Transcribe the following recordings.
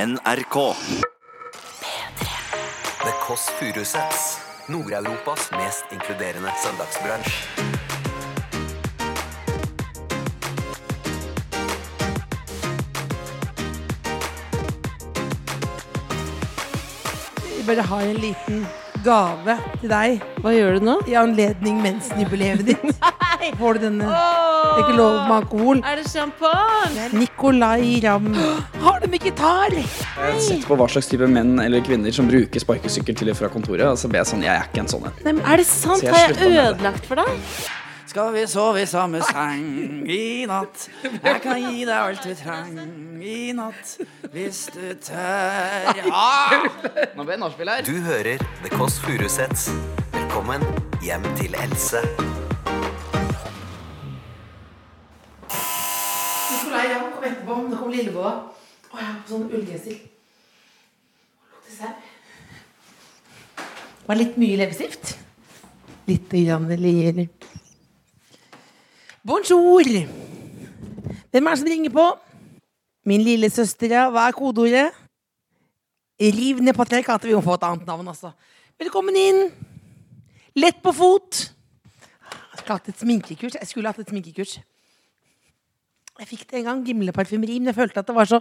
NRK. The Kåss Furuseths. Nord-Europas mest inkluderende søndagsbransj. Vi bare har en liten gave til deg Hva gjør du nå? i anledning mensenjubileet ditt. Får du denne? Det er ikke lov med alkohol. Er det champagne? Nicolay Ramm. Har du med gitar? Jeg sitter på hva slags type menn eller kvinner som bruker sparkesykkel til og fra kontoret. Og så ble jeg sånn, jeg er ikke en sånn en. Nei, men er det sant? Så jeg Har jeg slutta med det. ødelagt for deg? Skal vi sove i samme seng i natt? Jeg kan gi deg alt du treng i natt, hvis du tør. Du hører The Kåss Furuseths. Velkommen hjem til Else. Nicolay Ramm kom etterpå. men Da kom Lillebolla. Og jeg har på sånn ullgenser. Lukter sau. Var litt mye leppestift. Litt grann eller Bonjour. Hvem er det som ringer på? Min lillesøster, ja. Hva er kodeordet? Riv ned patriarkatet. Vi må få et annet navn, altså. Velkommen inn. Lett på fot. Jeg skulle hatt et sminkekurs. Jeg skulle hatt et sminkekurs. Jeg fikk det en gang, Gimleparfymeri, men jeg følte at det var så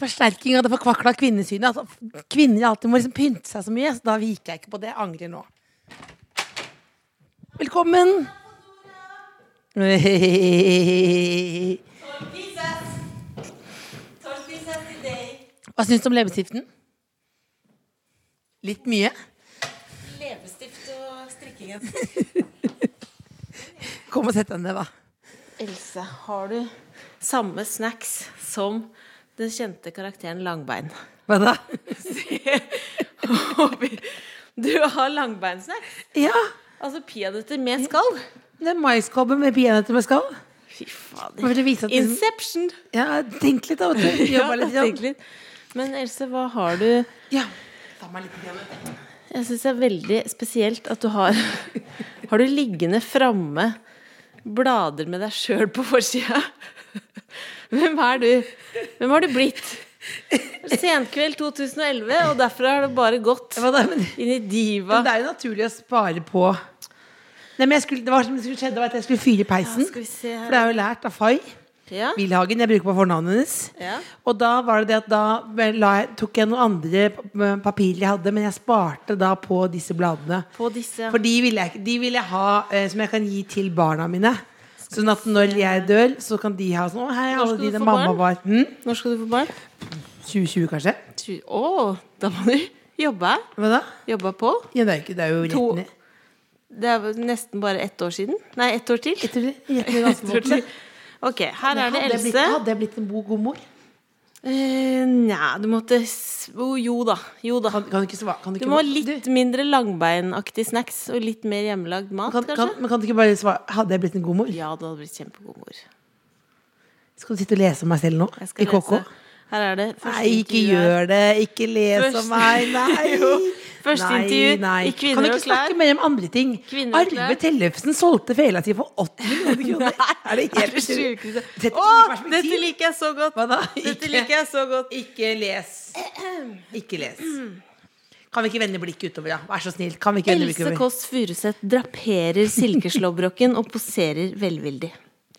Forsterking av det forkvakla kvinnesynet. Altså, kvinner alltid må liksom pynte seg så mye, så da viker jeg ikke på det. Jeg angrer nå. Velkommen. Hva syns du om leppestiften? Litt mye? Leppestift og strikkingen. Kom og sett deg ned, da. Else, har du samme snacks som den kjente karakteren Langbein? Hva da? Du har langbeinsnacks. Ja, Altså peanøtter med skall. det er maiskåpe med peanøtter med skall. Fy Bare for fader. å vise at det- Inception! Ja, tenk litt, da. vet du. Jobba litt. Ja. Ja, tenk litt. Men Else, hva har du Ja. Ta meg litt peanøtter. Jeg syns det er veldig spesielt at du har Har du liggende framme blader med deg sjøl på forsida? Hvem er du? Hvem har du blitt? Senkveld 2011, og derfra har det bare gått Hva da? Men, inn i diva. men det er jo naturlig å spare på Nei, men jeg skulle, Det var som det skulle skjedde, var at jeg skulle fyre i peisen. Skal vi se For det her er jo lært av Fay ja. Wilhagen. Jeg bruker på fornavnet hennes. Ja. Og da var det det at da la jeg, tok jeg noen andre p- papirer jeg hadde, men jeg sparte da på disse bladene. På disse For de vil jeg, de vil jeg ha eh, som jeg kan gi til barna mine. Sånn at når jeg dør, så kan de ha sånn Å, hei, alle skal de du der få mamma barn? var hm? Når skal du få barn? 2020, kanskje? Tju- Å, da må du jobbe. Hva da? Jobba på. Ja, det er jo ikke Det er jo rett To- ned. Det er vel nesten bare ett år siden. Nei, ett år til. Etter, etter, Ett år til. Ok, her er det hadde jeg blitt, Else. hadde jeg blitt en bo- god mor? Eh, Nja, du måtte s- Jo jo da. Jo da. Kan, kan du ikke svare? Kan du, Du ikke må ha bare- litt mindre langbeinaktig snacks og litt mer hjemmelagd mat, kan, kan, kanskje? men kan du ikke bare svare Hadde jeg blitt en god mor? Ja, du hadde blitt kjempegod mor. Skal du sitte og lese om meg selv nå? Jeg I skal KK? lese. Her er det første Nei, ikke intervju her. gjør det! Ikke les Første- om meg! Nei! Jo, første Nei, intervju nei. i Kvinner Kan du og ikke snakke klær? mer om andre ting? Kvinner og Arve klær. Tellefsen solgte fela si for 80 millioner kroner! Er det Er det helt sjukeste Dette Å, gir perspektiv. dette liker jeg så godt! Hva da? Dette Ikke- liker jeg så godt. Ikke les. Ikke les. Kan vi ikke vende blikket utover, da? Vær så snill. Kan vi ikke vende blikket Else utover? Kåss Furuseth draperer silkeslåbroken og poserer velvillig.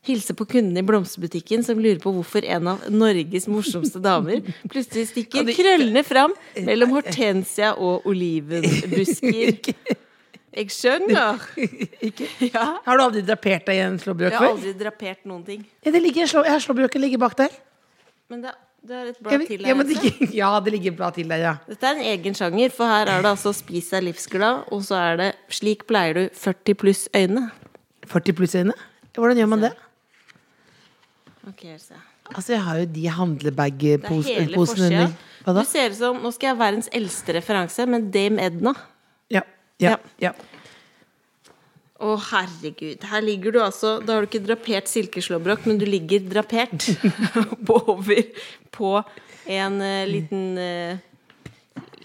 Hilser på kundene i blomsterbutikken som lurer på hvorfor en av Norges morsomste damer plutselig stikker krøllene fram mellom hortensia og olivenbusker. Jeg skjønner. Ja. Har du aldri drapert deg i en slåbrok Jeg har før? aldri drapert noen ting. Ja, det ligger en slå, jeg har slåbroken ligger bak der. Men det, det er et Jeg vet- blad til altså. ja, her. men det Else. ligger- ja, det ligger bra til der, ja. Dette er en egen sjanger, for her er det altså 'Spis deg livsglad', og så er det 'Slik pleier du 40 pluss øyne'. 40 pluss-øyne. Hvordan gjør man det? Ok, Else. Altså, jeg har jo de Det er hele handlebagposene forsida. under. Hva Du da? ser ut som Nå skal jeg ha verdens eldste referanse, men Dame Edna. Ja. Ja. Ja. ja. Å, herregud. Her ligger du altså Da har du ikke drapert silkeslåbrok, men du ligger drapert på over på en eh, liten eh,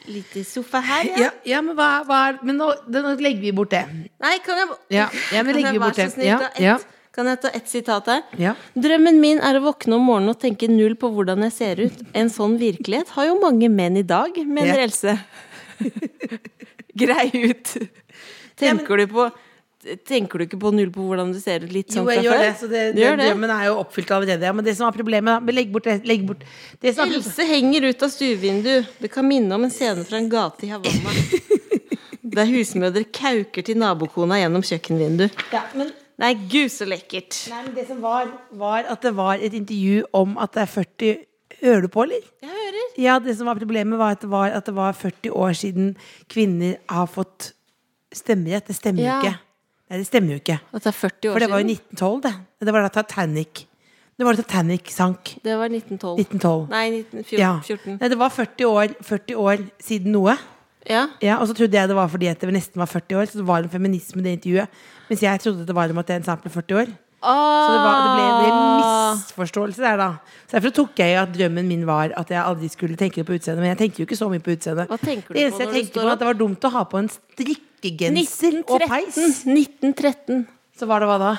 Liten sofa her, ja. Ja, ja, men hva, hva er Men nå, det- nå legger vi bort det. Nei, kan jeg Ja, ja, men kan legger jeg vi være bort så det. snill Ja, ta ett ja. Kan jeg ta ett sitat her? Ja. Drømmen min er å våkne om morgenen og tenke null på hvordan jeg ser ut. En sånn virkelighet har jo mange menn i dag, mener Ja. Else. Grei ut. Tenker du på Tenker du ikke på null på hvordan du ser ut litt Jo, sånn fra jeg gjør før? det, så det, Du gjør den drømmen er jo oppfylt allerede. Ja, men det som er problemet, da men Legg bort det. Legg bort. Det som er Else henger ut av stuevindu. Det kan minne om en scene fra en gate i Havanna. Der husmødre kauker til nabokona gjennom kjøkkenvindu. ja, men, Nei, gud så lekkert. nei, men det som var, var at det var et intervju om at det er 40 Hører du på, eller? Jeg hører. Ja, det som var problemet var at det var, at det var 40 år siden kvinner har fått stemmerett. Det stemmer jo Ja. ikke. Nei, det stemmer jo ikke. At det er 40 år For det var jo siden. 1912, det. Det var da Titanic Det var da Titanic sank. Det var 1912. 1912. Nei, 1914. Ja. Ja. Nei, det var 40 år, 40 år siden noe. ja. Ja, Og så trodde jeg det var fordi at det nesten var 40 år, så det var en feminisme i det intervjuet. Mens jeg trodde det var om at jeg snart ble 40 år. Så det, var, det ble, det ble en Ah. misforståelse der, da. Så derfor tok jeg at drømmen min var at jeg aldri skulle tenke på utseendet. Men jeg tenkte jo ikke så mye på utseendet. Hva tenker du det eneste på jeg når du tenkte står på, var opp? at det var dumt å ha på en strikkegenser og 1913. peis. 1913. Så var det hva da?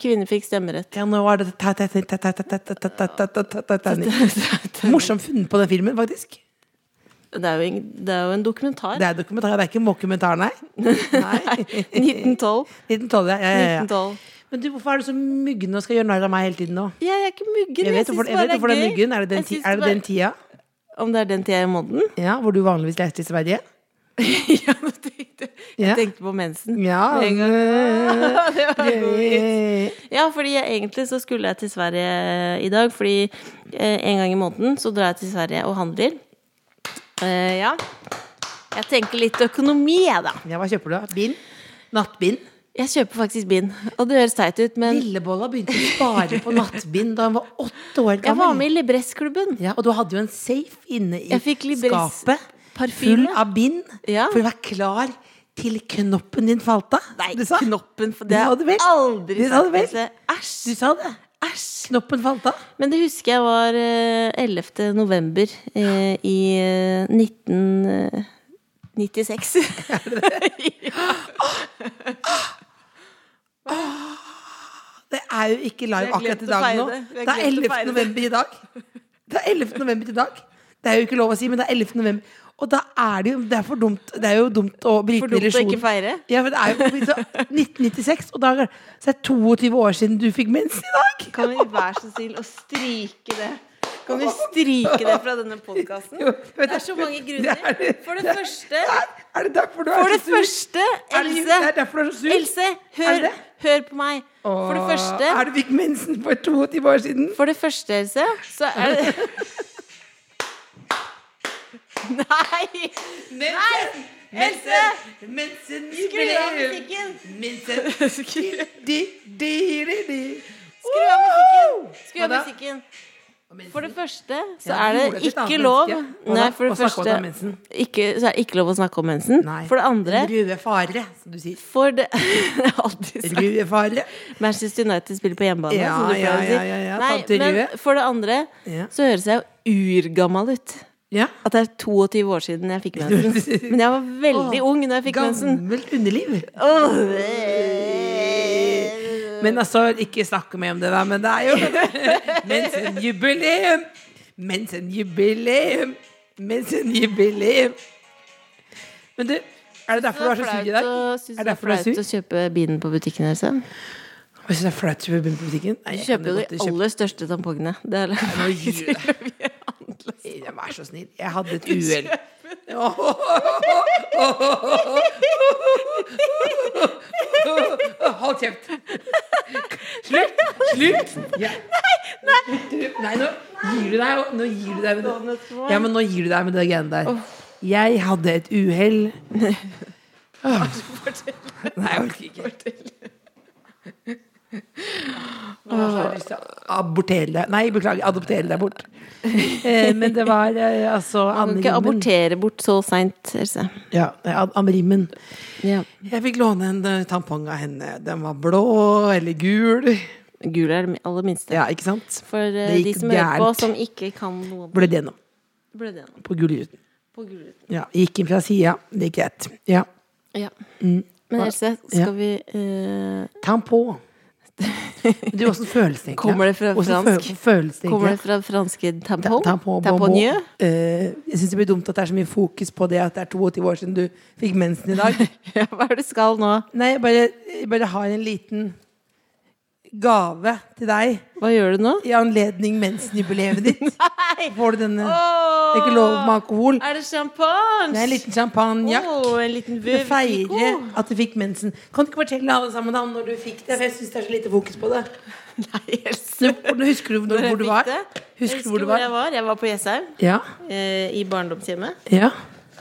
Kvinner fikk stemmerett. Ja, nå var det ta- ta- ta- ta- ta- ta- ta- ta- ta- ta- ta- ta- ta- Morsomt funnet på den filmen, faktisk. Det er jo en, det er jo en dokumentar. Det er dokumentar, det er ikke mockumentar, nei. nei. 1912. 1912, ja. ja, ja, ja. 1912. Men du, hvorfor er du så muggen og skal gjøre narr av meg hele tiden nå? Jeg er ikke muggen. Jeg vet syns hvorfor, jeg bare vet hvorfor det gøy. er muggen. Er det den, Jeg ti, syns er det den bare- tida Om det er den tida i måneden? ja, hvor du vanligvis leter i Sverige? ja, nå tenkte jeg. Ja. Jeg tenkte på mensen. Ja. Med en gang. det var en god vits. Hva Ja, fordi jeg, egentlig så skulle jeg til Sverige i dag, fordi eh, en gang i måneden så drar jeg til Sverige og handler. Eh, ja. Jeg tenker litt økonomi, jeg, da. kjøper du? da? Bind? Nattbind? Jeg kjøper faktisk bind. Og det høres teit ut, men Lillebolla begynte å spare på nattbind da hun var åtte år gammel. jeg var med i Libressklubben. ja, og du hadde jo en safe inne i Jeg fikk Libres skapet full parfyme. av bind Ja. for å være klar til knoppen din falt av. Nei, du sa. knoppen, for Du det sa har det vel? jeg aldri Du sa det vel? Else. Æsj. Du sa det. Æsj. Knoppen falt av. Men det husker jeg var eh, 11. november eh, i eh, 1996. Det er jo ikke Vi live har akkurat i glemt å dag feire nå. det. Vi Det har er glemt 11. å feire det. november i dag. Det er 11. november i dag. Det er jo ikke lov å si, men det er 11. november. Og da er det jo Det er for dumt, det er jo dumt å bryte For dumt å relasjonen. ikke feire? Ja, for det er jo så 1996, og da er det så er det 22 år siden du fikk mens i dag. Kan vi være så snill å stryke det? Kan du stryke det fra denne podkasten? Jo, vet Det er så mange Det er grunner. det. For det første Er, er det derfor du er For det så sur? første, Er det- Else Det er derfor du er så sur? Else, Er hør, det? hør på meg. For det Åh, første Er du fikk mensen for 22 år siden? For det første, Else, så er det Nei! Mensen! Mensen! Mensen! Skru av musikken! Mensen! Skru Di, di, di, di. skru av musikken! Skru Hva av da? musikken! For det første så Ja, er det det gjorde et ikke annet lov menneske. Hva da? Nei, for Å det snakke om at første det er mensen. ikke, så er det ikke lov å snakke om mensen. Nei. For det andre Den Røde fare, som du sier. For det Jeg har alltid sagt Røde fare. Manchester United spiller på hjemmebane. Ja, som du ja, pleier å si. ja, ja, ja. Tante Nei, Rue. men for det andre Ja. så høres jeg jo urgammal ut. Ja. At det er 22 år siden jeg fikk mensen. Men jeg var veldig ung når jeg fikk mensen. Gammelt underliv. sånn- Åh. Men altså, ikke snakk mer om det, da, men det er jo Mensenjubileum! Mensenjubileum! Mensenjubileum! Men du, er det derfor du er så sur i dag? Syns Er det du det er derfor du er flaut å sur? kjøpe bilen på butikken? Else? Jeg synes det er flaut å kjøpe bind på butikken. Nei, Du jeg kjøper kan jo godt de kjøpe- aller største tampongene. Det er Nå gir du deg. Ja, Eh, Vær så snill. Jeg hadde et uhell. Hold kjeft. Slutt! Slutt! Ja. Nei, nå gir du deg. og- Nå gir du deg med det. Ja, men nå gir du deg med det greiene der. Jeg hadde et uhell. Åh. Nei, jeg orker ikke. Nå har jeg lyst til å Abortere deg Nei, beklager. Adoptere deg bort. Eh, Men det var eh, altså Man Anne kan ikke Rimmen. abortere bort så seint, Else. Ja, eh, Anne Rimmen. Ja. Jeg fikk låne en eh, tampong av henne. Den var blå eller gul. Gul er det aller minste. Ja, ikke sant? For eh, Det de gikk som hører på, gærent. som ikke kan noe om Blødde gjennom blødde gjennom på Gullruten. på gulruten. Ja, gikk inn fra sida. Det gikk greit. Ja. Ja. Men Else, Mm. Ja. skal vi eh, Tampå. Du, åssen føles det egentlig? Kommer det fra Hvordan føl- fransk? føles det Kommer egentlig? det fra franske Ta- tampong? ta på- på- Tamponjø? på- Eh, jeg syns det blir dumt at det er så mye fokus på det at det er 22 år siden du fikk mensen i dag. Ja, hva er det du skal nå? Nei, jeg bare, jeg bare har en liten gave til deg Hva gjør du nå? i anledning mensenjubileet ditt. Får du denne? Det er ikke lov med alkohol. Er det champagne? Det er en liten champagnejakke. Åh, en liten Du feirer Veuve Clicquot. at du fikk mensen. Kan du ikke fortelle alle sammen da om når du fikk det? For jeg syns det er så lite fokus på det. Nei, Else. Du, husker du Når når, jeg hvor du fikk var? det? Jeg Husker du hvor du var? jeg var? Jeg var på Jessheim, Ja. eh, i barndomshjemmet. ja.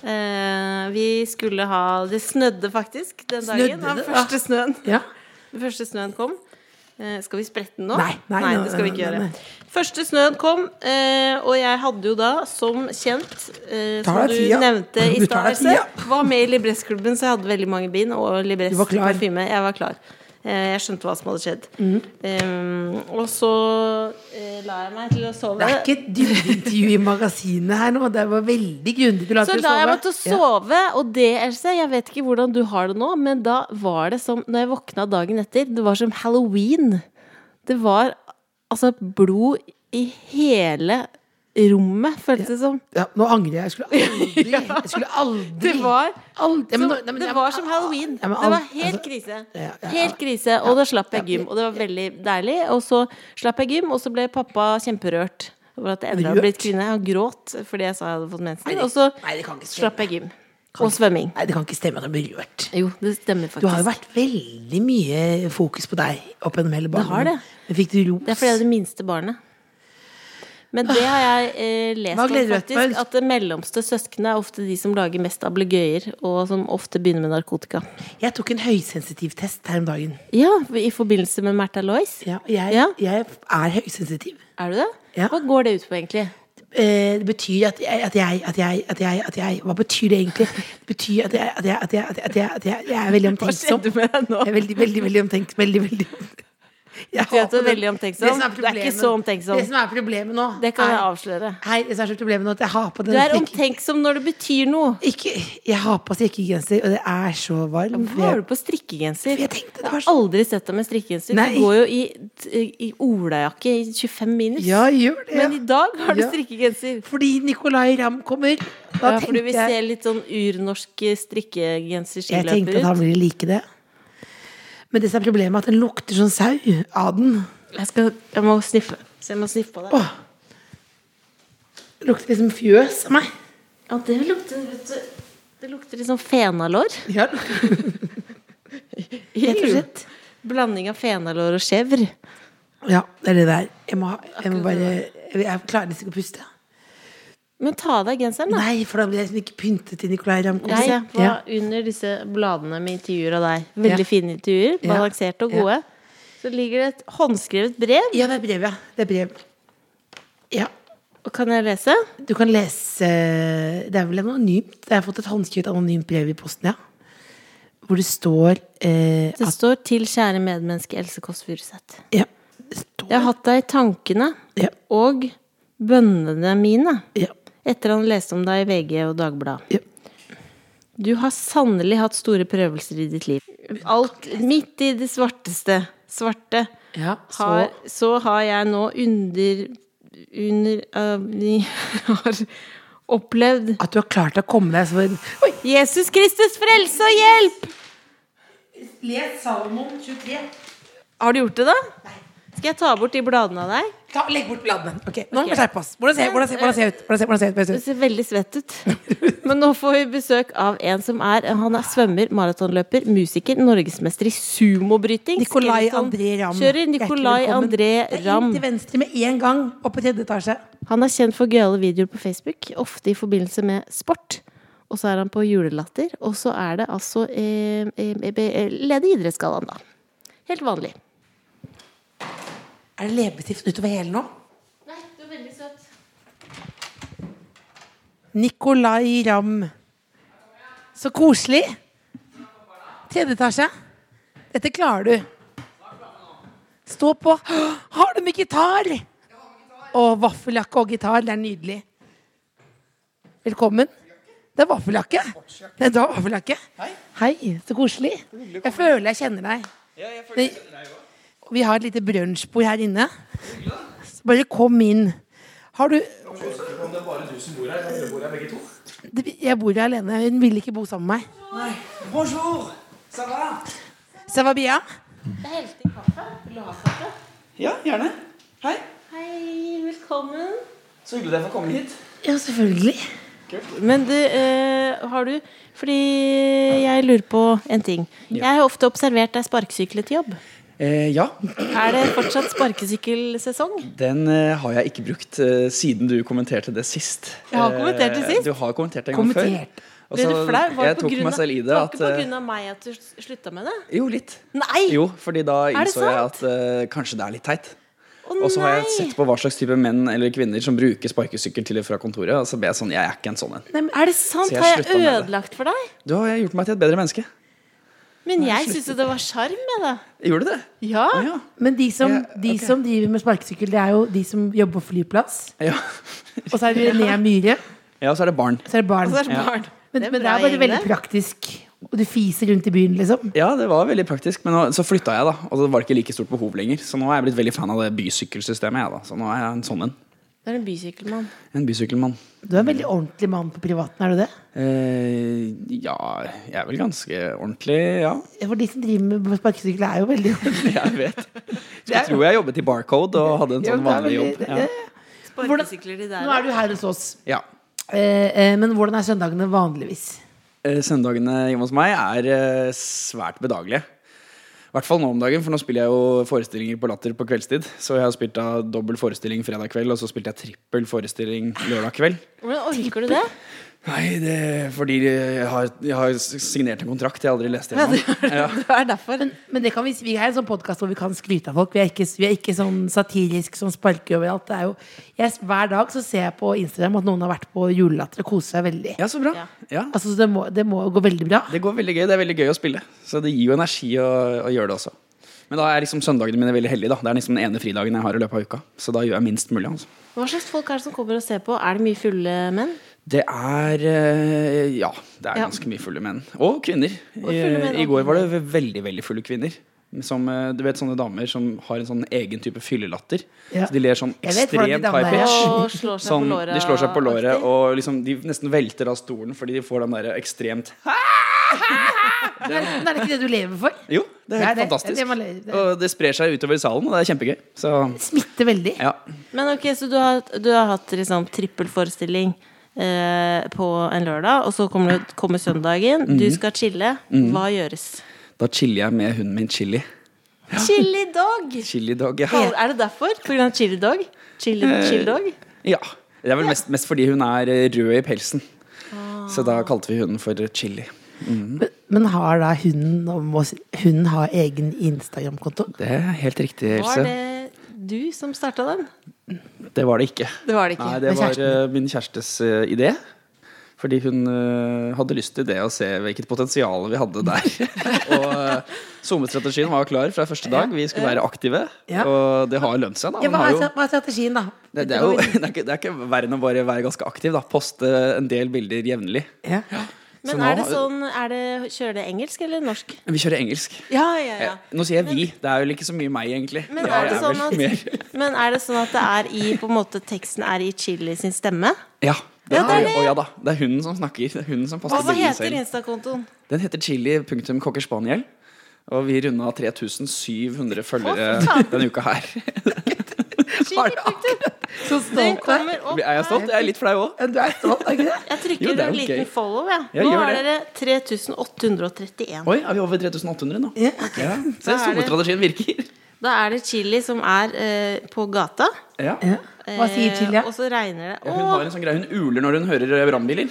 Eh, vi skulle ha Det snødde faktisk den dagen. Snødde den det? Ah. første snøen. ja. Den første snøen kom. Eh, skal vi sprette den nå? Nei, nei, nei, det skal vi ikke nei, nei, gjøre. Første snøen kom, eh, og jeg hadde jo da, som kjent, eh, som deg du tida. nevnte i Du tar deg starten, tida. var med i Libressklubben, så jeg hadde veldig mange bind og Libress Du var klar. Mhm. parfyme. Jeg var klar. Eh, jeg skjønte hva som hadde skjedd. Eh, og så eh, la jeg meg til å sove. Det er ikke et dybdeintervju i magasinet her nå. Det var veldig grundig. Du la Så til å la jeg meg til å Ja. sove, og det, Else, jeg vet ikke hvordan du har det nå, men da var det som Når jeg våkna dagen etter, det var som halloween. Det var altså blod i hele rommet, føltes det som. Ja, nå angrer jeg. Jeg skulle aldri, jeg skulle aldri Det var, aldri, Ja, men nå- nei, men det jeg- var som halloween. Ja, Det men var alt- helt altså, krise. ja, ja, Helt krise. Og da slapp jeg gym, og det var veldig deilig. Og så slapp jeg gym, og så ble pappa kjemperørt over at jeg enda hadde blitt Rørt? kvinne. Han gråt fordi jeg sa jeg hadde fått mensen. det- Og så nei, det kan ikke stemme. slapp jeg gym. Og svømming. Nei, det kan ikke stemme at jeg blir rørt. Jo, det stemmer faktisk. Du har jo vært veldig mye fokus på deg opp gjennom hele Det har barndommen. Men fikk du ros? Det er fordi jeg er det minste barnet. Men det har jeg eh, lest Hva om, gleder du deg til? faktisk. At det mellomste søsknene er ofte de som lager mest ablegøyer, og som ofte begynner med narkotika. Jeg tok en høysensitiv test her om dagen. Ja, i forbindelse med Märtha Lois. Ja, jeg, Ja. jeg er høysensitiv. Er du det? Ja. Hva går det ut på, egentlig? Eh, Det betyr at jeg, at, jeg, at, jeg, at, jeg, at jeg Hva betyr det egentlig? Det betyr at jeg, at jeg, at jeg, at jeg, at jeg, at jeg, jeg er veldig omtenksom. med deg nå? Jeg er veldig, veldig, veldig omtenksom. Veldig, veldig jeg Du er hater veldig den- omtenksom. Det som Du er ikke problemet- så omtenksom. Det som er problemet nå Det kan jeg er- avsløre. Hei, det som er så problemet nå, at jeg har på den Du er strikke- omtenksom når det betyr noe. ikke, Jeg har på strikkegenser, og det er så varmt. Hva har du på strikkegenser? Jeg tenkte det Jeg var har så aldri sett deg med strikkegenser. Nei. Du går jo i, i olajakke i 25 minus. Ja, gjør det. Men i dag har du Ja. strikkegenser. Fordi Nicolay Ramm kommer. Da Ja, fordi tenkte vi ser jeg litt sånn urnorsk Jeg tenkte at strikkegenser-skiløper han ut. ville like det. Men det som er problemet, er at den lukter sånn sau av den. Jeg, skal, jeg må sniffe. Så jeg må sniffe på det. Åh. Det lukter liksom fjøs av meg. Ja, det lukter vet du, Det lukter litt sånn fenalår. Ja, rett og slett. Blanding av fenalår og chèvre. Ja, det er det der. Jeg må, ha- jeg må bare Jeg klarer nesten ikke å puste. Men ta av deg genseren, da. Nei, for da blir jeg liksom ikke pyntet til Nicolay Ramm kommer. Jeg var Ja. under disse bladene med intervjuer av deg. Veldig Ja. fine intervjuer. Ja. Balanserte og Ja. gode. Så ligger det et håndskrevet brev. ja, det er brev, ja. Det er brev. Ja. Og kan jeg lese? Du kan lese Det er vel anonymt. Jeg har fått et håndskrevet anonymt brev i posten, ja. Hvor det står eh, Det at står 'Til kjære medmenneske Else Kåss Furuseth'. ja, det står, Jeg har hatt deg i tankene Ja. og bønnene mine. ja, Etter han leste om deg i VG og Dagbladet. ja. Du har sannelig hatt store prøvelser i ditt liv. Alt midt i det svarteste. Svarte. Ja, så- har, så har jeg nå under Under øh, Har opplevd At du har klart å komme deg så Oi! Jesus Kristus, frelse og hjelp! Les Salomon 23. Har du gjort det, da? Skal jeg ta bort de bladene av deg? Ta, legg bort bladene. Ok, Nå må vi skjerpe oss. Hvordan ser hvordan ser- hvordan ser jeg ut? Hvordan ser, hvordan ser jeg ut? Hvordan ser Du jeg ut? ser veldig svett ut. Men nå får vi besøk av en som er Han er svømmer, maratonløper, musiker, norgesmester i sumobryting. Nicolay skeleton- André Ramm. liksom. Kjører Hjertelig Nicolay velkommen. André Det er Ramm. Inn til venstre med en gang, opp på tredje etasje. Han er kjent for gøyale videoer på Facebook, ofte i forbindelse med sport. Og så er han på julelatter, og så er det altså eh, eh, eh, ledig idrettsgallaen, da. Helt vanlig. Er det leppestift utover hele nå? Nei, du er veldig søt. Nicolay Ramm. Så koselig. Tredje etasje. Dette klarer du. Stå på. Hå, Har du med gitar? Og vaffeljakke og gitar. Det er nydelig. Velkommen. Det er vaffeljakke. Det er da vaffeljakke. Hei. Så koselig. Jeg føler jeg kjenner deg. Ja, jeg føler jeg kjenner deg Vi har et lite brunsjbord her inne. Så bare kom inn. Har du Det- Jeg bor her alene. Hun vil ikke bo sammen med meg. Bonjour! Ça va? Ça va bien? Det er helt i kaffe. Vil du ha kaffe? Ja, gjerne. Hei. Hei, velkommen. Så hyggelig dere får komme hit. Ja, selvfølgelig. Men du, eh, har du Fordi jeg lurer på en ting. Jeg har ofte observert deg sparkesykle til jobb. Eh, ja, Er det fortsatt sparkesykkelsesong? den eh, har jeg ikke brukt eh, siden du kommenterte det sist. Jeg har kommentert det Eh, sist. Du har kommentert det en gang Kommentert. før. Og Ble du flau? så- Var Altså, Jeg det på tok grunn meg av- selv i det. Var det At, ikke eh, pga. meg at du s- slutta med det? jo, litt. Nei! Jo, fordi da det innså jeg sant? at eh, kanskje det er litt teit. Å, Og så har jeg nei! sett på hva slags type menn eller kvinner som bruker sparkesykkel til og fra kontoret. Og så ble jeg sånn, jeg er ikke en sånn en. Er det sant? Så jeg Har jeg slutta med det. ødelagt for deg? Du har gjort meg til et bedre menneske. Men jeg syns jo det var sjarm med det. Gjorde du det? Ja. Å, Ja. Men de som, Ja, de som driver med sparkesykkel, det er jo de som jobber på flyplass. Ja. Og så er det Linnea Myhre. ja, og så er det barn. Så er det barn. Og så er det Altså, barn. Men, Det er men det bra er bare gjeng, veldig det. praktisk. Og du fiser rundt i byen, liksom. Ja, det var veldig praktisk, men nå, så flytta jeg, da. Og så var det ikke like stort behov lenger. Så nå er jeg blitt veldig fan av det bysykkelsystemet, jeg, da. Så nå er jeg en sånn en. Det er en bysykkelmann. En bysykkelmann. Du er en veldig ordentlig mann på privaten, er du det? Eh, ja, jeg er vel ganske ordentlig, ja. For de som driver med sparkesykkel, er jo veldig Jeg vet. Skulle tro jeg jobbet i Barcode og hadde en Ja, sånn men det vanlig er jobb. veldig- Ja. Sparkesykler de Nå der. er du her hos oss. ja. Eh, eh, men hvordan er søndagene vanligvis? Eh, Søndagene hjemme hos meg er eh, svært bedagelige. I hvert fall nå om dagen, for nå spiller jeg jo forestillinger på Latter på kveldstid. Så jeg har spilt da dobbel forestilling fredag kveld, og så spilte jeg trippel forestilling lørdag kveld. Hvordan orker du det? Nei, det er fordi jeg har, jeg har signert en kontrakt jeg aldri leste Ja, gjennom. det Ja. er derfor. Men det kan vi, si- vi er en sånn podkast hvor vi kan skryte av folk. Vi er ikke, vi er ikke sånn satirisk som sparker overalt. Det er jo, jeg, hver dag så ser jeg på Instagram at noen har vært på julelatter og koser seg veldig. Ja, så bra. Ja. Altså, så det, må, det må gå veldig bra. Det går veldig gøy. Det er veldig gøy å spille. Så det gir jo energi å, å gjøre det også. Men da er liksom søndagene mine veldig heldige. da. Det er liksom den ene fridagen jeg har i løpet av uka. Så da gjør jeg minst mulig. altså. Hva slags folk er det som kommer og ser på? Er det mye fulle menn? Det er eh, Ja, det er Ja. ganske mye fulle menn. Og kvinner. Eh, fulle menn, I, I og går var det veldig veldig fulle kvinner. Som, eh, du vet Sånne damer som har en sånn egen type fyllelatter. Ja. Så De ler sånn Jeg vet hvordan de ekstremt damene high er. pitch. Og slår seg Sånn, på låra? de slår seg på låret aktig? og liksom, de nesten velter av stolen fordi de får den der ekstremt Men er det ikke det du lever for? Jo, det er helt Det er det. Det fantastisk. er det man ler- det er- Og det sprer seg utover salen, og det er kjempegøy. Så Smitter veldig. ja. Men ok, så du har, du har hatt liksom trippelforestilling eh, på en lørdag, og så kommer, du, kommer søndagen. Mm. Du skal chille. Hva gjøres? Da chiller jeg med hunden min Chili. Chili dog! Chili dog, ja. Er det derfor? På grunn av chili dog? Chili, chili dog? ja. Det er vel mest, mest fordi hun er eh, rød i pelsen. Ah. Så da kalte vi hunden for Chili. Men, men har da hunden og må si- Hunden har egen Instagram-konto? Det er helt riktig, Var Else. Det? det du som starta den? var det ikke. Det var det ikke. Nei, det Men var kjæresten- eh, min kjærestes eh, idé. Fordi hun eh, hadde lyst til det å se hvilket potensial vi hadde der. og uh, SoMe-strategien var klar fra første dag. Vi skulle være aktive. Ja. Og det har lønt seg, da. Ja, Hun hva, har er, jo, hva er strategien, da? det, det, er jo, det, er ikke, det er ikke verre enn å bare være ganske aktiv. Da. Poste en del bilder jevnlig. Ja. Så Men nå er det har- sånn er det, Kjører det engelsk eller norsk? Vi kjører engelsk. Ja, ja, Eh, Nå sier jeg vi. Det er vel ikke så mye meg, egentlig. Men Jeg er, det sånn vel at, mer- men er det sånn at det er i på en måte teksten er i Chili sin stemme? Ja. Det, Ja, det er det. Å, ja da. Det er hunden som snakker. Det er hunden som passer Og hva bildene heter selv. Insta-kontoen? Den heter chili.cockerspaniel. Og vi runda 3700 følgere Å, faen. denne uka her. Så Den stolt av deg. kommer opp. Er jeg stolt? Jeg er litt flau òg. Ja, Du er stolt, er ikke det? Jeg trykker Jo, det er en jo liten gøy. follow, jeg. Ja, Nå gjør er dere 3831. Oi, er vi over 3800 nå? Ja. Ja. Se, Da er det- solestrategien virker. Da er det Chili som er eh, på gata. Ja. Ja. Hva sier eh, Tilja? Og så regner det. Hun har Å, en sånn greie hun uler når hun hører eh, brannbiler.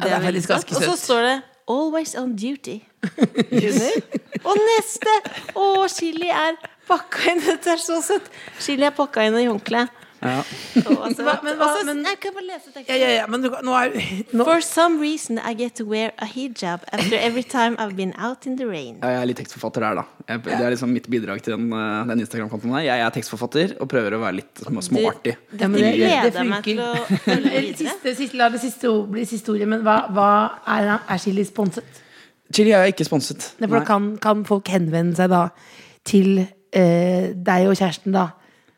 Ja, det er veldig faktisk ganske Og så søtt. står det 'Always on duty'. Og neste! Å, chili er pakka inn. Dette er så søtt. Chili er pakka inn i håndkle. Ja. Å, altså, Hva- men hva- altså, men- jeg kan bare lese teksten. Ja, ja, ja, men du, kan- nå er nå, For some reason I get to wear a hijab after every time I've been out in the rain. Ja, jeg er litt tekstforfatter der, da. Jeg, det er liksom mitt bidrag til den, eh, den Instagram-kontoen her. Jeg er tekstforfatter og prøver å være litt små- småartig. Ja, men Jeg det- det gleder meg til å funker. følge Eh, videre. Siste, siste, la det siste ord bli siste ordet, men hva, hva er, er Chili sponset? Chili er ikke sponset. Nei, for da kan, kan folk henvende seg da til eh, deg og kjæresten, da.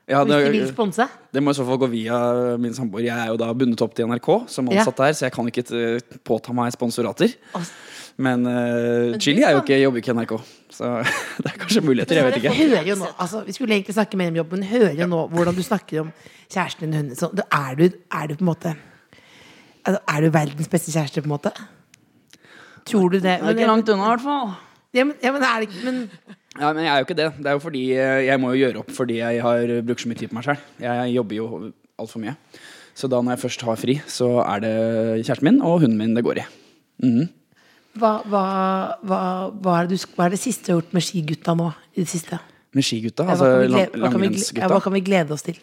Ja, hvis de vil det, sponse. det må i så fall gå via min samboer. Jeg er jo da bundet opp til NRK som Ja. ansatt der, så jeg kan ikke eh, påta meg sponsorater. Altså. Men, eh, Chili er jo ikke, jobber ikke i NRK, så det er kanskje muligheter. Jeg vet Jeg ikke. hører jo nå, altså, vi skulle egentlig snakke mer om jobben, men hører jo nå hvordan du snakker om kjæresten din. Hun, så, da er, du, er du på en måte altså, Er du verdens beste kjæreste, på en måte? Tror du det? Men, unna, i hvert fall. ja, men, ja, men, er det, ikke- men Ja, men jeg er jo ikke det. Det er jo fordi eh, jeg må jo gjøre opp fordi jeg har brukt så mye tid på meg selv Jeg jobber jo altfor mye. Så da når jeg først har fri, så er det kjæresten min og hunden min det går i. hva, hva, hva, hva, er det du, sk- hva er det siste du har gjort med skigutta nå? I det siste? Med skigutta, Ja, altså hva, kan vi lang- glede, hva, kan vi, gle- ja, hva langrennsgutta. kan vi glede oss til?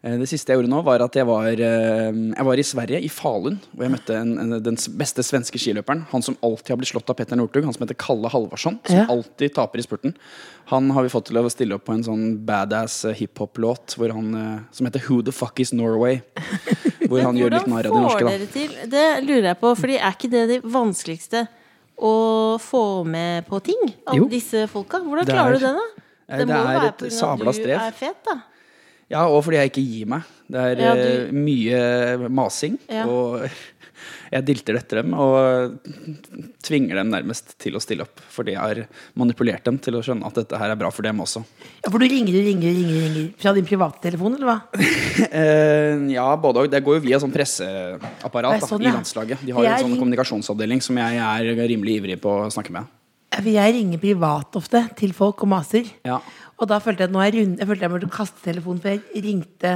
Eh, Det siste jeg gjorde nå, var at jeg var, eh, jeg var i Sverige, i Falun. Hvor jeg møtte en, en, den s- beste svenske skiløperen. Han som alltid har blitt slått av Petter Northug. Han som heter Kalle Halvorsson. Som Ja. alltid taper i spurten. Han har vi fått til å stille opp på en sånn badass eh, hiphop-låt hvor han, eh, som heter Who the fuck is Norway? Hvor han gjør litt Hvordan narr av de får norske, da. dere til Det lurer jeg på, Fordi er ikke det det vanskeligste å få med på ting? Alle Jo. disse folka? Hvordan Det er- klarer du det, da? Eh, Det, det må jo er være et på grunn av sabla at du strev. er fet, da. Ja, og fordi jeg ikke gir meg. Det er Ja, eh, du- mye masing, Ja. og jeg dilter etter dem og tvinger dem nærmest til å stille opp. Fordi jeg har manipulert dem til å skjønne at dette her er bra for dem også. Ja, for du ringer og ringer, og ringer, ringer fra din private telefon, eller hva? Eh, ja, både og. Det går jo via sånn presseapparat Det er sånn, da, i ja. landslaget. De Det har jo er en sånn ring- kommunikasjonsavdeling som jeg er rimelig ivrig på å snakke med. Ja, for Jeg ringer privat ofte til folk og maser. Ja. Og da følte jeg at nå er jeg runde, jeg følte jeg måtte kaste telefonen, for jeg ringte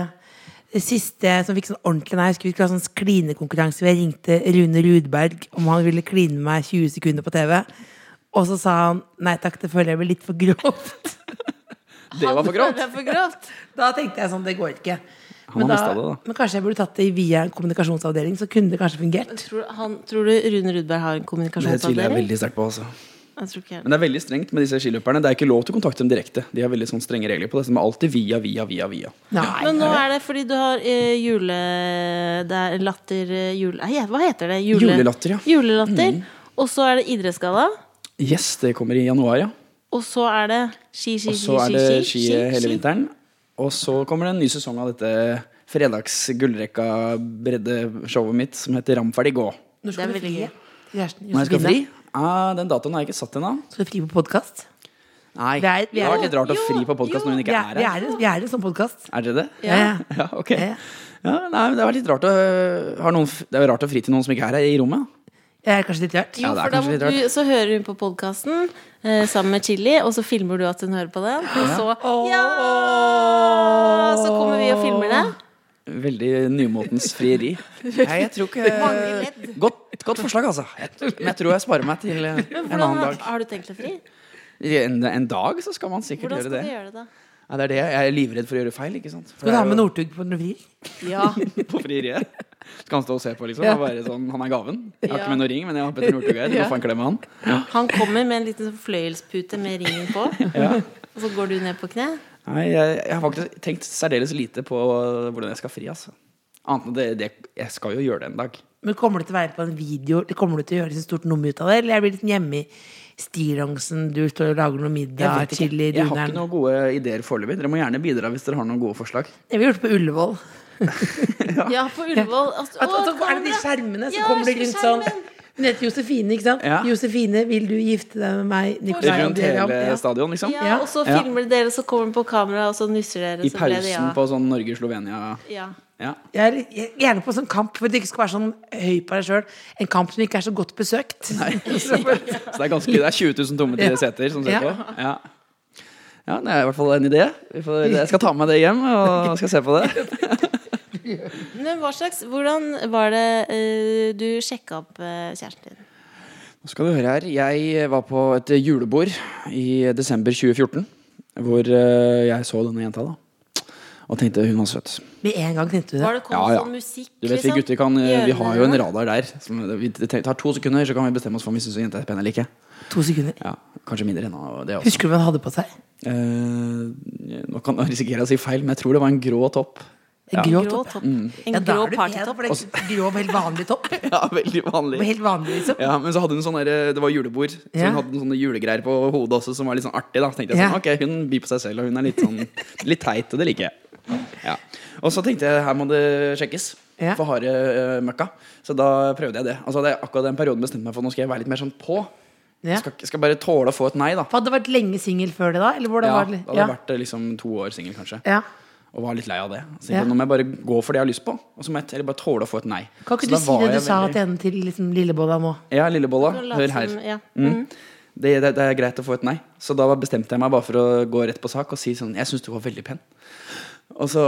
det siste som fikk sånn ordentlig nei, jeg husker vi skulle ha sånn klinekonkurranse, hvor jeg ringte Rune Rudberg om han ville kline med meg 20 sekunder på TV. Og så sa han nei takk, det føler jeg blir litt for grovt. Det var for grovt! Det er for grovt. Da tenkte jeg sånn, det går ikke. Han har da, mistet det, da. men kanskje jeg burde tatt det via en kommunikasjonsavdeling, så kunne det kanskje fungert. Tror, han, tror du Rune Rudberg har en Det tviler jeg kommunikasjonsavdeling? veldig sterkt på. altså Jeg tror ikke jeg- Men det er veldig strengt med disse skiløperne. Det er ikke lov til å kontakte dem direkte. De har veldig sånn strenge regler på det. Så de er alltid via, via, via. via Nei, Men nå er det fordi du har eh, jule... Det er latter... eh, Jule, nei, hva heter det? Jule- Julelatter, ja. Mm. Julelatter. Og så er det idrettsgalla. Yes, det kommer i januar, ja. Og så er det ski, ski, Og ski, så er det ski, ski hele vinteren. Og så kommer det en ny sesong av dette fredags gullrekka bredde-showet mitt som heter Ramferdig gå. Når skal du fri? det er veldig gøy. til Kjæresten, Når jeg skal fri? Josefine? Ah, den datoen har jeg ikke satt ennå. Skal du fri på podkast? Nei. Vi er- vi det er- har vært litt rart å jo, fri på jo, podkast når hun Vi ikke er, er vi her. er, vi er en sånn podkast. Er dere det? Ja. Ja, ok. Ja. Ja, nei, men det er litt rart å, øh, har noen, f- det er jo rart å fri til noen som ikke er her i rommet. Jeg er kanskje litt rart. Jo, Ja, det er for da kanskje må litt rart. du, så hører hun på podkasten eh, sammen med Chili, og så filmer du at hun hører på den. Og så, ja, så kommer vi og filmer det. Veldig nymotens frieri. Nei, jeg tror ikke godt, godt forslag, altså. Jeg, men jeg tror jeg sparer meg til eh, en Hvordan, annen har- dag. har du tenkt deg fri? En, en dag så skal man sikkert Hvordan gjøre skal det. du gjøre det, da? Nei, det er det. Jeg er livredd for å gjøre feil. ikke sant? For Skal du det ha er med jo- Northug på når du frir? Ja. På frieriet. Skal han stå og se på, liksom? Ja. Og være sånn, Han er gaven. Jeg har Ja. ikke med noen ring, men jeg har Petter Northug her. Du må få en klem av han. Han kommer med en liten sånn fløyelspute med ringen på, og så går du ned på kne. Nei, jeg, jeg har faktisk tenkt særdeles lite på hvordan jeg skal fri, altså. Annet enn det, det Jeg skal jo gjøre det en dag. Men kommer det til å være på en video? Kommer du til å gjøre liksom stort nummer ut av det? Eller jeg blir litt hjemme i stillongsen, du står og lager noe middag, vet ikke. chili, jeg har ikke duneren noen gode ideer foreløpig. Dere må gjerne bidra hvis dere har noen gode forslag. Jeg vil gjøre det på Ullevål. Ja, på Ullevål. Altså, At, å, at, så er det de kamera! skjermene, så Ja, kommer det rundt sånn skjermen! Hun heter Josefine, ikke sant? Ja. Josefine, vil du gifte deg med meg? Nicolai Rundt Andrea? hele Ja. stadion, liksom. Ja, og så Ja. filmer dere, så kommer den på kamera, og så nusser dere. I så ble det ja. pausen på sånn Norge-Slovenia ja. ja. Jeg er litt- jeg er gjerne på en sånn kamp hvor det ikke skal være sånn høy på deg sjøl. En kamp som ikke er så godt besøkt. Så det er, ganske, det er 20 000 tomme til Ja. seter som ser Ja. på. Ja. ja, det er i hvert fall en idé. Vi får, jeg skal ta med det hjem og skal se på det. Men hva slags, hvordan var det eh, du sjekka opp eh, kjæresten din? Nå skal du høre her. Jeg var på et julebord i desember 2014. Hvor eh, jeg så denne jenta, da. Og tenkte hun var søt. Med en gang tenkte du det. Var det kom Ja, ja. sånn musikk? Du vet, vi liksom, gutter kan, i eh, vi har jo en ørene? radar der. Som vi det tar to sekunder, så kan vi bestemme oss for om vi syns jenta er pen eller ikke. To sekunder. Ja, kanskje mindre enn det også. Husker du hva han hadde på seg? Eh, nå kan jeg risikere å si feil, men jeg tror det var en grå topp. En grå Grå topp. topp. En Mm. Ja, da grå er du pen, partytopp. for det er Grå, helt vanlig topp. Ja, veldig vanlig. Helt vanlig, liksom. Ja, men så hadde hun sånn der, Det var julebord, så Ja. hun hadde noen sånne julegreier på hodet også som var litt sånn artig. da Tenkte jeg Ja. sånn, ok, Hun byr på seg selv, og hun er litt sånn Litt teit, og det liker jeg. Ja. Og så tenkte jeg her må det sjekkes. Ja. For harde eh, møkka. Så da prøvde jeg det. Og så hadde jeg akkurat den perioden bestemt meg for nå skal jeg være litt mer sånn på. Ja. Skal, ikke- skal bare tåle å få et nei, da. Hadde det vært lenge singel før det, da? Eller hvordan Ja, var da det? hadde jeg vært eh, liksom to år singel, kanskje. ja. Og var litt lei av det. Så tenkte Ja. jeg, nå må jeg bare gå for det jeg har lyst på. Og så må jeg t- eller bare tåle å få et nei. Kan ikke Så du da si var det du jeg sa veldig- til henne til liksom, lillebolla nå? Ja, lillebolla, Og hør late her. som- Ja. Mm. Det, det, det er greit å få et nei. Så da bestemte jeg meg bare for å gå rett på sak og si sånn Jeg syns du var veldig pen. Og så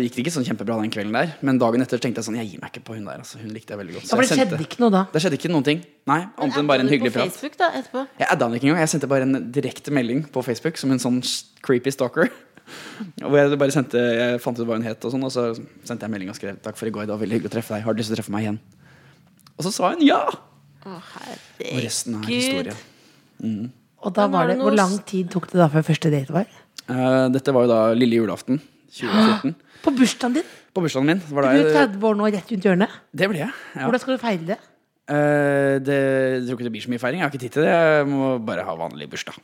gikk det ikke sånn kjempebra den kvelden der, men dagen etter tenkte jeg sånn Jeg gir meg ikke på hun der, altså. Hun likte jeg veldig godt. Ja, for det jeg skjedde ikke noe da? Det skjedde ikke noen ting. Nei, annet Adda enn bare en du hyggelig på prat. Facebook da, etterpå. Jeg adda henne ikke engang. Jeg sendte bare en direkte melding på Facebook som en sånn creepy stalker. Hvor jeg bare sendte Jeg fant ut hva hun het, og sånn Og så sendte jeg melding og skrev 'Takk for i går, det var veldig hyggelig å treffe deg. Har du lyst til å treffe meg igjen?' Og så sa hun ja! Å, Og resten Gud. er historie. Og da Men var var det, det Hvor noe lang s- tid tok det da før første date var? Eh, dette var jo da lille julaften 2014. På bursdagen din! På bursdagen min. Var Du da er jeg, 30 år nå, rett rundt hjørnet. det ble jeg. Ja. Hvordan skal du feire det? Eh, det, jeg tror ikke det blir så mye feiring. Jeg har ikke tid til det. Jeg må bare ha vanlig bursdag.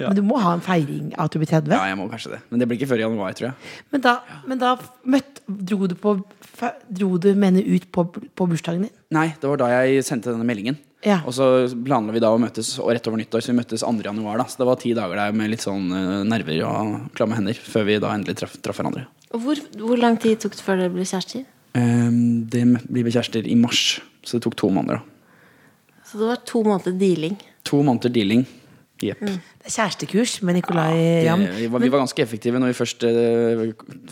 ja. Men du må ha en feiring av at du blir 30. ja, jeg må kanskje det. Men det blir ikke før i januar, tror jeg. Men da, men da møtt, dro du på fe- Dro du mener ut på, på bursdagen din? Nei, det var da jeg sendte denne meldingen. Ja. Og så planla vi da å møtes og rett over nyttår, så vi møttes 2. januar. da Så det var ti dager der med litt sånn eh, nerver og klamme hender før vi da endelig traff, traff hverandre. Og hvor, hvor lang tid tok det før dere ble kjærester? Eh, det blir vi kjærester i mars, så det tok to måneder. da Så det var to måneder dealing. To måneder dealing. Jepp. Det er kjærestekurs med Nicolay Ramm. Det, Eh, vi, var, vi var ganske effektive når vi først eh,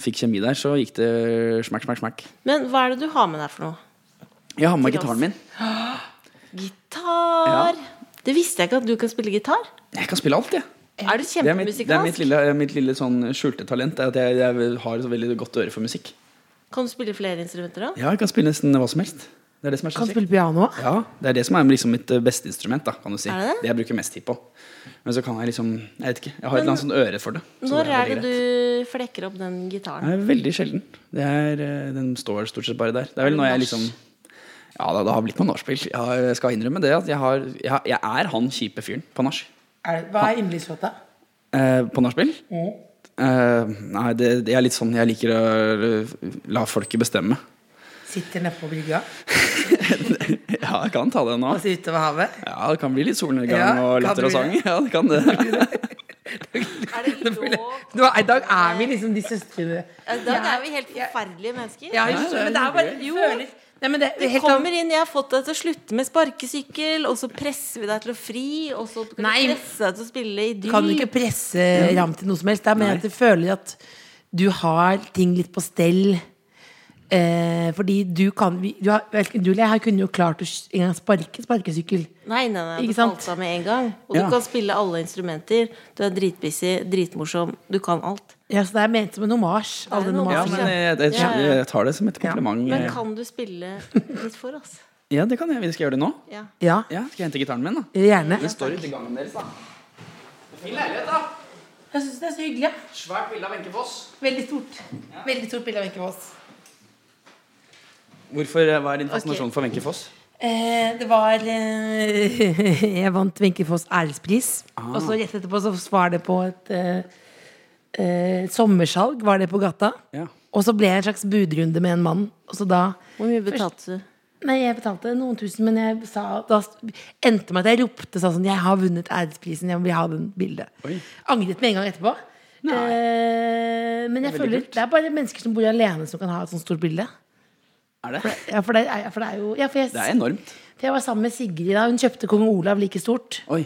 fikk kjemi der. Så gikk det smakk, smakk, smakk. Men hva er det du har med deg for noe? Jeg har med meg Til oss. gitaren min. Gitar! Det visste jeg ikke at du kan spille gitar. Jeg kan spille alt, jeg. Er du Det er mitt, det er mitt kjempemusikalsk? lille, mitt lille sånn skjulte talent. Er at jeg, jeg har et veldig godt øre for musikk. Kan du spille flere instrumenter da? Ja, jeg kan spille nesten hva som helst. Det er det som er så Kan kjekt. spille piano òg. Ja, det er det som er liksom mitt eh, beste instrument. da, kan du si Er det det? jeg bruker mest tid på. Men så kan jeg liksom Jeg vet ikke, jeg har et eller annet sånn øre for det. så Når er veldig det greit. du flekker opp den gitaren? Det er veldig sjelden. Det er, eh, den står stort sett bare der. Det er vel det når jeg nach? liksom Ja, det, det har blitt noen nachspiel. Jeg har- Jeg skal innrømme det. At jeg, har, jeg, har- jeg er han kjipe fyren på nach. Hva er yndlingslåta? Eh, på nachspiel? Mm. Eh, nei, det, det er litt sånn jeg liker å eh, la folket bestemme. Sitter nede på brygga Ja, jeg kan ta det nå. og ser utover havet. Ja, Det kan bli litt solnedgang Ja, og kan latter og det sang. Ja, det kan det. Er det lov? Nå, I dag er vi liksom de søstrene Da er vi helt forferdelige mennesker. Ja, jeg skjønner, men det er bare Jo. føler- Nei, men det, Det helt kommer inn, jeg har fått deg til å slutte med sparkesykkel, og så presser vi deg til å fri, og så kan Nei. vi presse deg til å spille i dyr. Kan du ikke presse Ram til noe som helst? Det er mer at du føler at du har ting litt på stell. Eh, fordi du kan vi- du, har, verken du eller jeg har kunne jo klart å s- en gang sparke sparkesykkel. Nei, nei, nei, Ikke du sant? falt av med en gang. Og Ja. du kan spille alle instrumenter. Du er dritbusy, dritmorsom, du kan alt. Ja, så det er ment som en homasj. Alle en nomasjer. Ja, homasj, men jeg, jeg, Ja, ja. jeg tar det som et kompliment. Men eh. kan du spille litt for oss? Ja, det kan jeg. Vi skal gjøre det nå. Ja. Ja, Ja, Skal jeg hente gitaren min, da? gjerne. Den står ute i gangen deres, da. Fin leilighet, da. Jeg syns det er så hyggelig. Svært bilde av Wenche Foss. Veldig stort. Veldig stort bilde av Wenche Foss. Hvorfor, eh, hva er din fascinasjon for Wenche Foss? Eh, det var eh, Jeg vant Wenche Foss ærespris. Og så rett etterpå så var det på et eh, eh, sommersalg, var det på gata. Ja. Og så ble jeg en slags budrunde med en mann. Og så da Hvor mye betalte du? Nei, jeg betalte noen tusen, men jeg sa Da endte meg at jeg ropte sa sånn Jeg har vunnet æresprisen, jeg vil ha den bildet. Oi. Angret med en gang etterpå. Eh, men jeg Det er veldig føler kult. det er bare mennesker som bor alene, som kan ha et sånt stort bilde. Er det? Ja, for det er, for det er jo ja, for, jeg, Det er enormt. for jeg var sammen med Sigrid da. Hun kjøpte kong Olav like stort. Oi.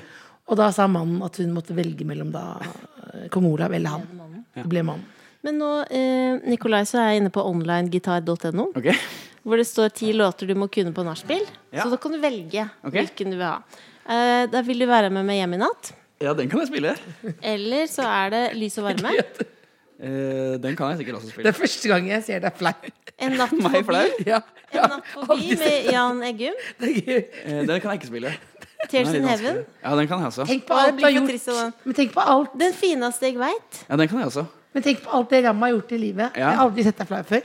Og da sa mannen at hun måtte velge mellom da eh, kong Olav eller han. Det ble mannen. Men nå, eh, Nikolai, så er jeg inne på onlinegitar.no, Ok. hvor det står ti låter du må kunne på nachspiel. Ja. Så da kan du velge Ok. hvilken du vil ha. Eh, da vil du være med meg hjem i natt. Ja, den kan jeg spille. Eller så er det Lys og varme. Eh, den kan jeg sikkert også Det spille. er første gang jeg ser deg flau. En natt forbi. Meg flau? Ja, En natt forbi med Jan Eggum. Eh, den kan jeg ikke spille. Tears Den er in litt Heaven. vanskelig. Ja, den kan jeg også. Tenk på Bare alt du har blikk og trist og gjort. Men tenk på alt Den fineste jeg veit. Ja, den kan jeg også. Men tenk på alt det Ramma har gjort i livet. Ja. Jeg har aldri sett deg flau før.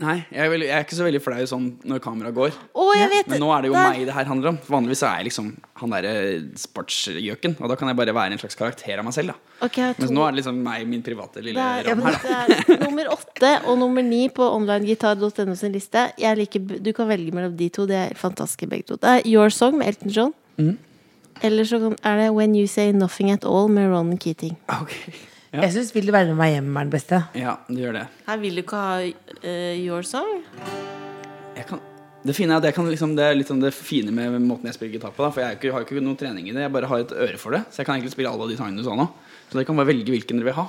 Nei, jeg er, veldig, jeg er ikke så veldig flau sånn når kameraet går. Å, jeg vet Men nå er det jo Der. meg det her handler om. Vanligvis så er jeg liksom han derre sportsgjøken, og da kan jeg bare være en slags karakter av meg selv. da Ok, jeg har to. Mens nå er det liksom meg, min private lille Det er, ram her. da det er nummer åtte og nummer ni på onlinegitar.no sin liste. Jeg liker, b- du kan velge mellom de to. De er fantastiske begge to. Det er Your Song med Elton John. Mm. Eller så kan- er det When You Say Nothing At All med Ron Keating. Jeg syns 'Vil du være med meg hjem' er den beste. Ja, det gjør det. Her vil du ikke ha eh, Your Song? Jeg kan, det fine er at jeg kan liksom, det er litt sånn det fine med måten jeg spiller gitar på. da For jeg er ikke, har ikke noen trening i det, jeg bare har et øre for det. Så jeg kan egentlig spille alle de sangene du sa nå. Så dere kan bare velge hvilken dere vil ha.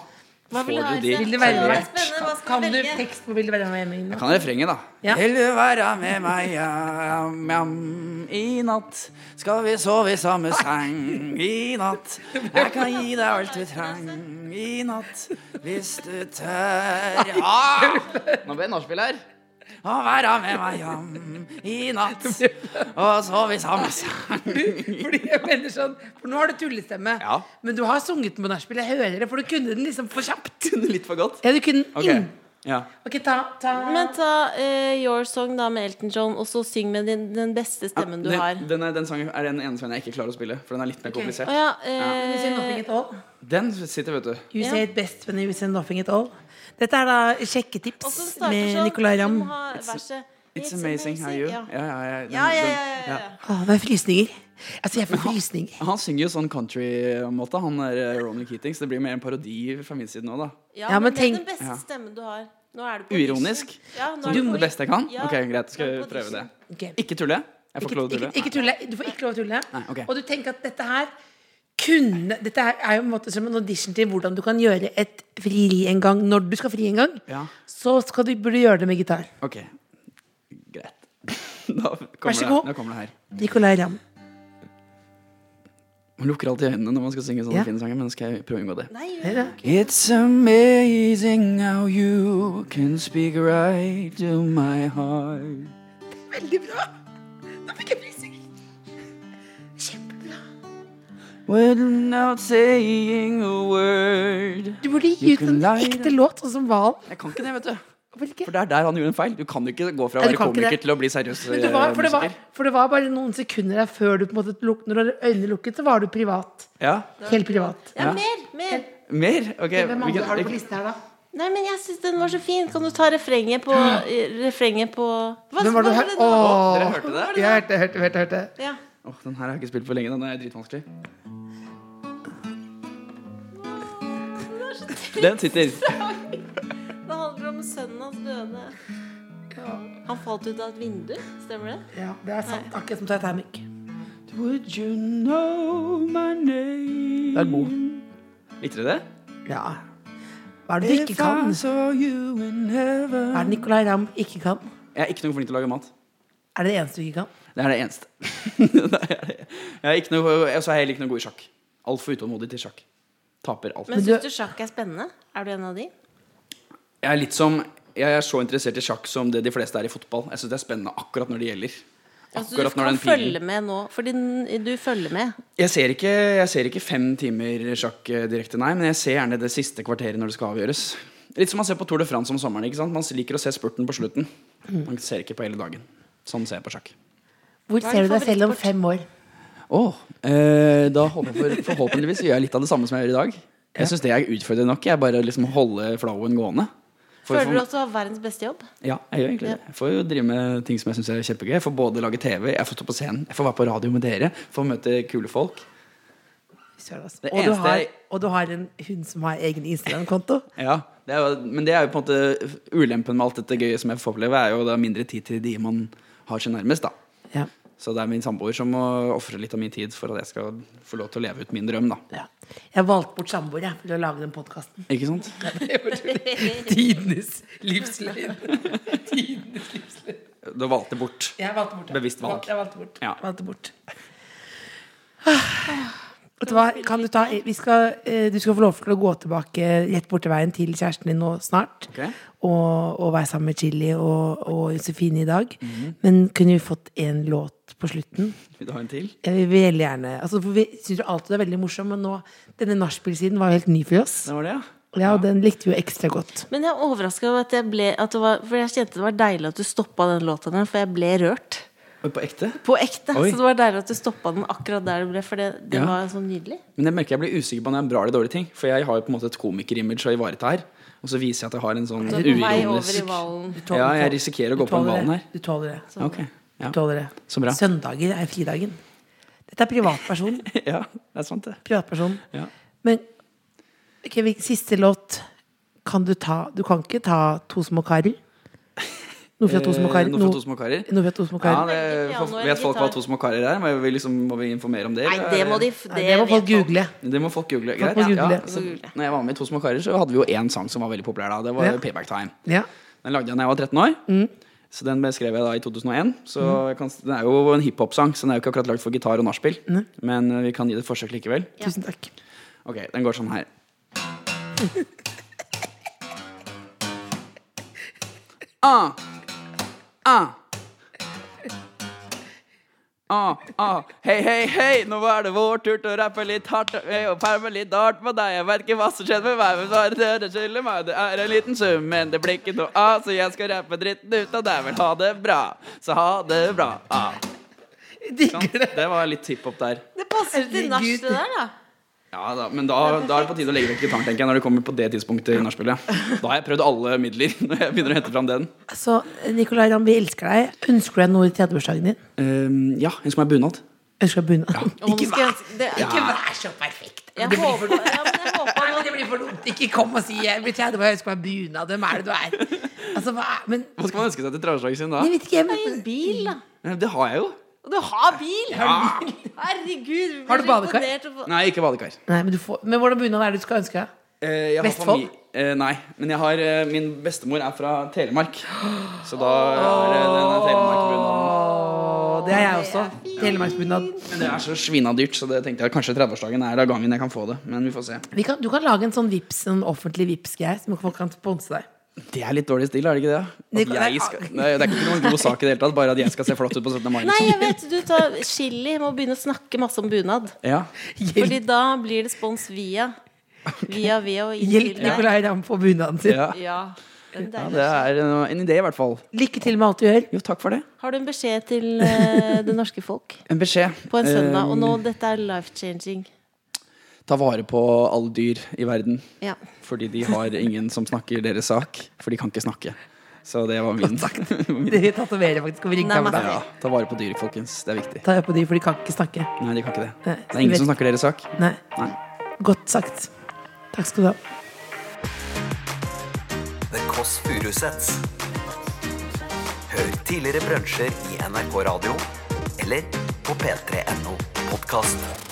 Hva vil du Får ha, du de? Else? Vil du være Ja, det er med? spennende. Hva skal Kan jeg du velge? tekst på 'Vil du være med meg hjem'? Jeg kan refrenget, da. Vil du være med meg jam, jam, i natt? Skal vi sove i samme seng i natt? Jeg kan gi deg alt du trenger i natt, hvis du tør. Ah! Nå ble jeg nachspiel her. Å være med meg jam mm, i natt, og sove i samme seng. Fordi jeg mener sånn For nå har du tullestemme, Ja. men du har sunget den på nachspiel. Jeg hører det, for du kunne den liksom for kjapt. Litt for godt. Ja, du kunne Ok. inn. Ja. Ok, ta, ta. Men ta eh, Your Song da med Elton John, og så syng med din, den beste stemmen du den, har. Den, er, den sangen er den ene sangen jeg ikke klarer å spille, for den er litt mer Å komplisert. ja, You say nothing eh, at all. Den sitter, vet du. You Ja. say it best when you say nothing at all. Dette er da og så sjekketips starter med sånn. Nicolay Du Ramm. må ha verset. It's amazing how you Ja, ja, ja. den- Ja, ja, ja, den- ja, ja. Åh, det er frysninger. Altså, jeg får frysninger. Han synger jo sånn country-måte, han der eh, Ronald Keating, så det blir mer en parodi fra min side nå, da. Ja, Ja, men, men det er tenk- den beste Ja. stemmen du har. Nå er du på Uironisk. audition. Ja, nå Som er du på- det beste jeg kan? Ja. Ok, greit, skal Nå jeg er du på prøve det. audition. Ok. Ikke tulle? Jeg får ikke Ikke, lov til å ikke, tulle? ikke tulle. Du får ikke lov til å tulle. Nei, ok. Og du tenker at dette her kunne Dette her er jo på en måte som en audition til hvordan du kan gjøre et frieri en gang når du skal fri en gang. Ja. Så skal du, burde du gjøre det med gitar. Ok, greit. Da Vær kommer, så det, god. da kommer det her. Nicolay Ramm. Man lukker alltid øynene når man skal synge sånne Ja. fine sanger, men nå skal jeg prøve å unngå det. Nei, Her, da. It's amazing how you can speak right to my heart. Veldig bra! Nå fikk jeg frysninger. Kjempebra. Without saying a word. Du burde gi ut can en lie ekte låt, sånn som Valen. Jeg kan ikke det, vet du. Hvorfor ikke? For det er der han gjorde en feil. Du kan jo ikke gå fra å Nei, du være kan ikke komiker det. til å bli seriøs Men det var, eh, for, det var, musiker. for det var bare noen sekunder der før du på en måte luk, Når du hadde øynene lukket, så var du privat. Ja. Helt privat. Ja, mer, mer. Mer? Ok. Hvem andre hvilken- har du på lista her, da? Nei, men jeg syns den var så fin. Kan du ta refrenget på eh, Refrenget på Hva, Hvem var det du hva her? det nå? Å, Åh, Dere hørte det? jeg hørte, hørte, hørte, hørte. Ja. Åh, den her har jeg ikke spilt på lenge. Den er dritvanskelig. Den sitter. Det handler om sønnen hans døde. Han falt ut av et vindu, stemmer det? Ja, det er sant. Akkurat som Titanic. Would you know my name? Det er god. Likte dere det? Ja. Hva er det du ikke kan? Hva er det Nicolay Ramm ikke kan? Jeg er ikke noe flink til å lage mat. Er det det eneste du ikke kan? Det er det eneste. Det er det. jeg er ikke noe, og så er jeg heller ikke noe god i sjakk. Altfor utålmodig til sjakk. Taper alt. Men du- syns du sjakk er spennende? Er du en av de? Jeg er litt som Jeg er så interessert i sjakk som det de fleste er i fotball. Jeg syns det er spennende akkurat når det gjelder. Altså, Akkurat du kan når den pilen følge med nå, fordi den- du følger med. Jeg ser, ikke, jeg ser ikke fem timer sjakk eh, direkte, nei, men jeg ser gjerne det siste kvarteret når det skal avgjøres. Litt som man ser på Tour de France om sommeren. ikke sant? Man liker å se spurten på slutten. Man ser ikke på hele dagen. Sånn ser jeg på sjakk. Hvor din ser du deg selv om fem år? Åh, eh, da håper jeg for, forhåpentligvis gjør jeg litt av det samme som jeg gjør i dag. Jeg syns det er utfordrende nok. Jeg bare liksom holde flowen gående. For- Føler du for- også har verdens beste jobb? Ja, jeg gjør egentlig det. Jeg får jo drive med ting som jeg syns er kjempegøy. Jeg får både lage TV, jeg får stå på scenen, jeg får være på radio med dere, får møte kule folk. Søren, altså. Det Og du, eneste har, jeg- og du har en hund som har egen Instagram-konto? Ja, det er jo, Men det er jo på en måte ulempen med alt dette gøye som jeg får oppleve, er jo da mindre tid til de man har seg nærmest, da. Ja. Så det er min samboer som må ofre litt av min tid for at jeg skal få lov til å leve ut min drøm, da. ja. Jeg valgte bort samboer jeg, for å lage den podkasten. Ikke sant? Tidenes livsløgn. Tidenes livsløgn. Du valgte bort. Jeg valgte bort. ja. Bevisst valg. Jeg valgte bort. Ja. Valgte bort. Vet du hva, kan du ta vi skal, eh, Du skal få lov til å gå tilbake rett borti veien til kjæresten din nå snart. Ok. Og, og være sammen med Chili og, og Josefine i dag. Mhm. Men kunne vi fått en låt på slutten? Vil du ha en til? Jeg vil veldig gjerne altså, for Vi syns jo alltid det er veldig morsomt, men nå, denne nachspiel-siden var jo helt ny for oss. Det var det, ja. Ja, og den likte vi jo ekstra godt. Men jeg er overraska over at jeg ble at det var, For jeg kjente det var deilig at du stoppa den låta der, for jeg ble rørt. Oi, På ekte? På ekte. Oi. Så det var deilig at du stoppa den akkurat der du ble, for det, det Ja. var sånn nydelig. Men jeg merker jeg blir usikker på om det er en bra eller dårlig ting. For jeg har jo på en måte et komikerimage å ivareta her. Og så viser jeg at jeg har en sånn Du er Altså, på vei over i uironisk valen. Du tåler- Ja, jeg tåler- risikerer å du gå på den tåler det. ballen her. Du tåler det. Du Ok, ja. tåler det. Så bra. Søndager er fridagen. Dette er privatperson. ja, det er sant, det. privatperson. Ja. Men ok, hvil- siste låt kan du ta Du kan ikke ta To små karer? Noe fra To små Eh, karer? noe fra no- To små karer? Noe fra To små Ja, karer. det, for, vet folk hva to små karer er? Må vi, liksom, må vi informere om det? Nei, eller det er må de Nei, det må folk vet google. Det må folk google. Folk Greit. må google. Ja, så, når jeg var med i To små karer, så hadde vi jo én sang som var veldig populær da. Det var Ja. Payback Time. Ja. Den lagde jeg da jeg var 13 år. Så den skrev jeg da i 2001. Så jeg kan, den er jo en hiphop-sang, så den er jo ikke akkurat lagd for gitar og nachspiel. Men eh, vi kan gi det et forsøk likevel. Tusen takk. Ok, den går sånn her. Ah. Ah. Ah, ah. Hei, hei, hei, nå er det vår tur til å rappe litt hardt eh, og perme litt hardt på deg. Jeg vet ikke hva som skjedde med meg, men bare dere skylder meg. Det er en liten sum, men det blir ikke noe av, så jeg skal rappe dritten ut av deg. Vel, ha det bra. Så ha det bra. Ah. Digger det. Det var litt hiphop der. Det passer til nach, Herregud. det der, da. Ja da, Men da, da er det på tide å legge vekk gitaren, tenker jeg. Når det kommer på det tidspunktet i nachspielet. Da har jeg prøvd alle midler. Når jeg begynner å hente fram den Så Nicolay Ramm, vi elsker deg. Ønsker du deg noe i 30-årsdagen din? Ehm, Ja, jeg skal ha bunad. Ønsker du deg bunad? Og nå skal jeg- det- Ikke vær så perfekt. Jeg Det blir håper, for ja, men jeg håper Nei, men det blir for dumt. Ikke kom og si 'jeg blir 30 år, jeg ønsker meg bunad'. Hvem er det du er? Altså, hva er Men Hva skal man ønske seg til 30-årsdagen sin da? jeg vet ikke, jeg en men, bil, da. Eh, Det har jeg jo. Og du har bil! Herregud. Har du badekar? Nei, ikke badekar. Nei, men, du får, men hvordan bunad er det du skal ønske deg? Eh, jeg har Vestfold? famili- Eh, nei, men jeg har eh, min bestemor er fra Telemark. Så da er det denne Telemark-bunaden. Og det er jeg også. Telemarksbunad. Men det er så svinadyrt, så det tenkte jeg kanskje 30-årsdagen er da gangen jeg kan få det. Men vi får se. Vi kan, du kan lage en sånn vips, en offentlig Vipps-greie som folk kan sponse deg. Det er litt dårlig stil, er det ikke det? Det- At jeg skal, nei, det er ikke noen god sak i det hele tatt, bare at jeg skal se flott ut på 17. mai. Nei, Liksom. jeg vet du tar chili. Må begynne å snakke masse om bunad. Ja. Fordi Hjelp, da blir det spons via. Via, via og inn til hjelp deg. Nicolay Ramm på bunaden sin. Ja. Ja. Den ja, der. det er en, en idé i hvert fall. Lykke til med alt du gjør. Jo, takk for det. Har du en beskjed til eh, det norske folk En beskjed. på en søndag? Eh, Og nå, dette er life changing. Ta vare på alle dyr i verden. Ja. Fordi de har ingen som snakker deres sak. For de kan ikke snakke. Så det var min. Dere tatoverer faktisk over Nei, men- ringtavla. Ja, ta vare på dyr, folkens. Det er viktig. Ta på de, for de kan ikke snakke. Nei, de kan ikke det. Eh, Nei, Det er ingen som snakker deres sak. Nei. Nei. Godt sagt. Takk skal du ha. The Kåss Furuseths. Hør tidligere brunsjer i NRK Radio eller på p3.no podkast.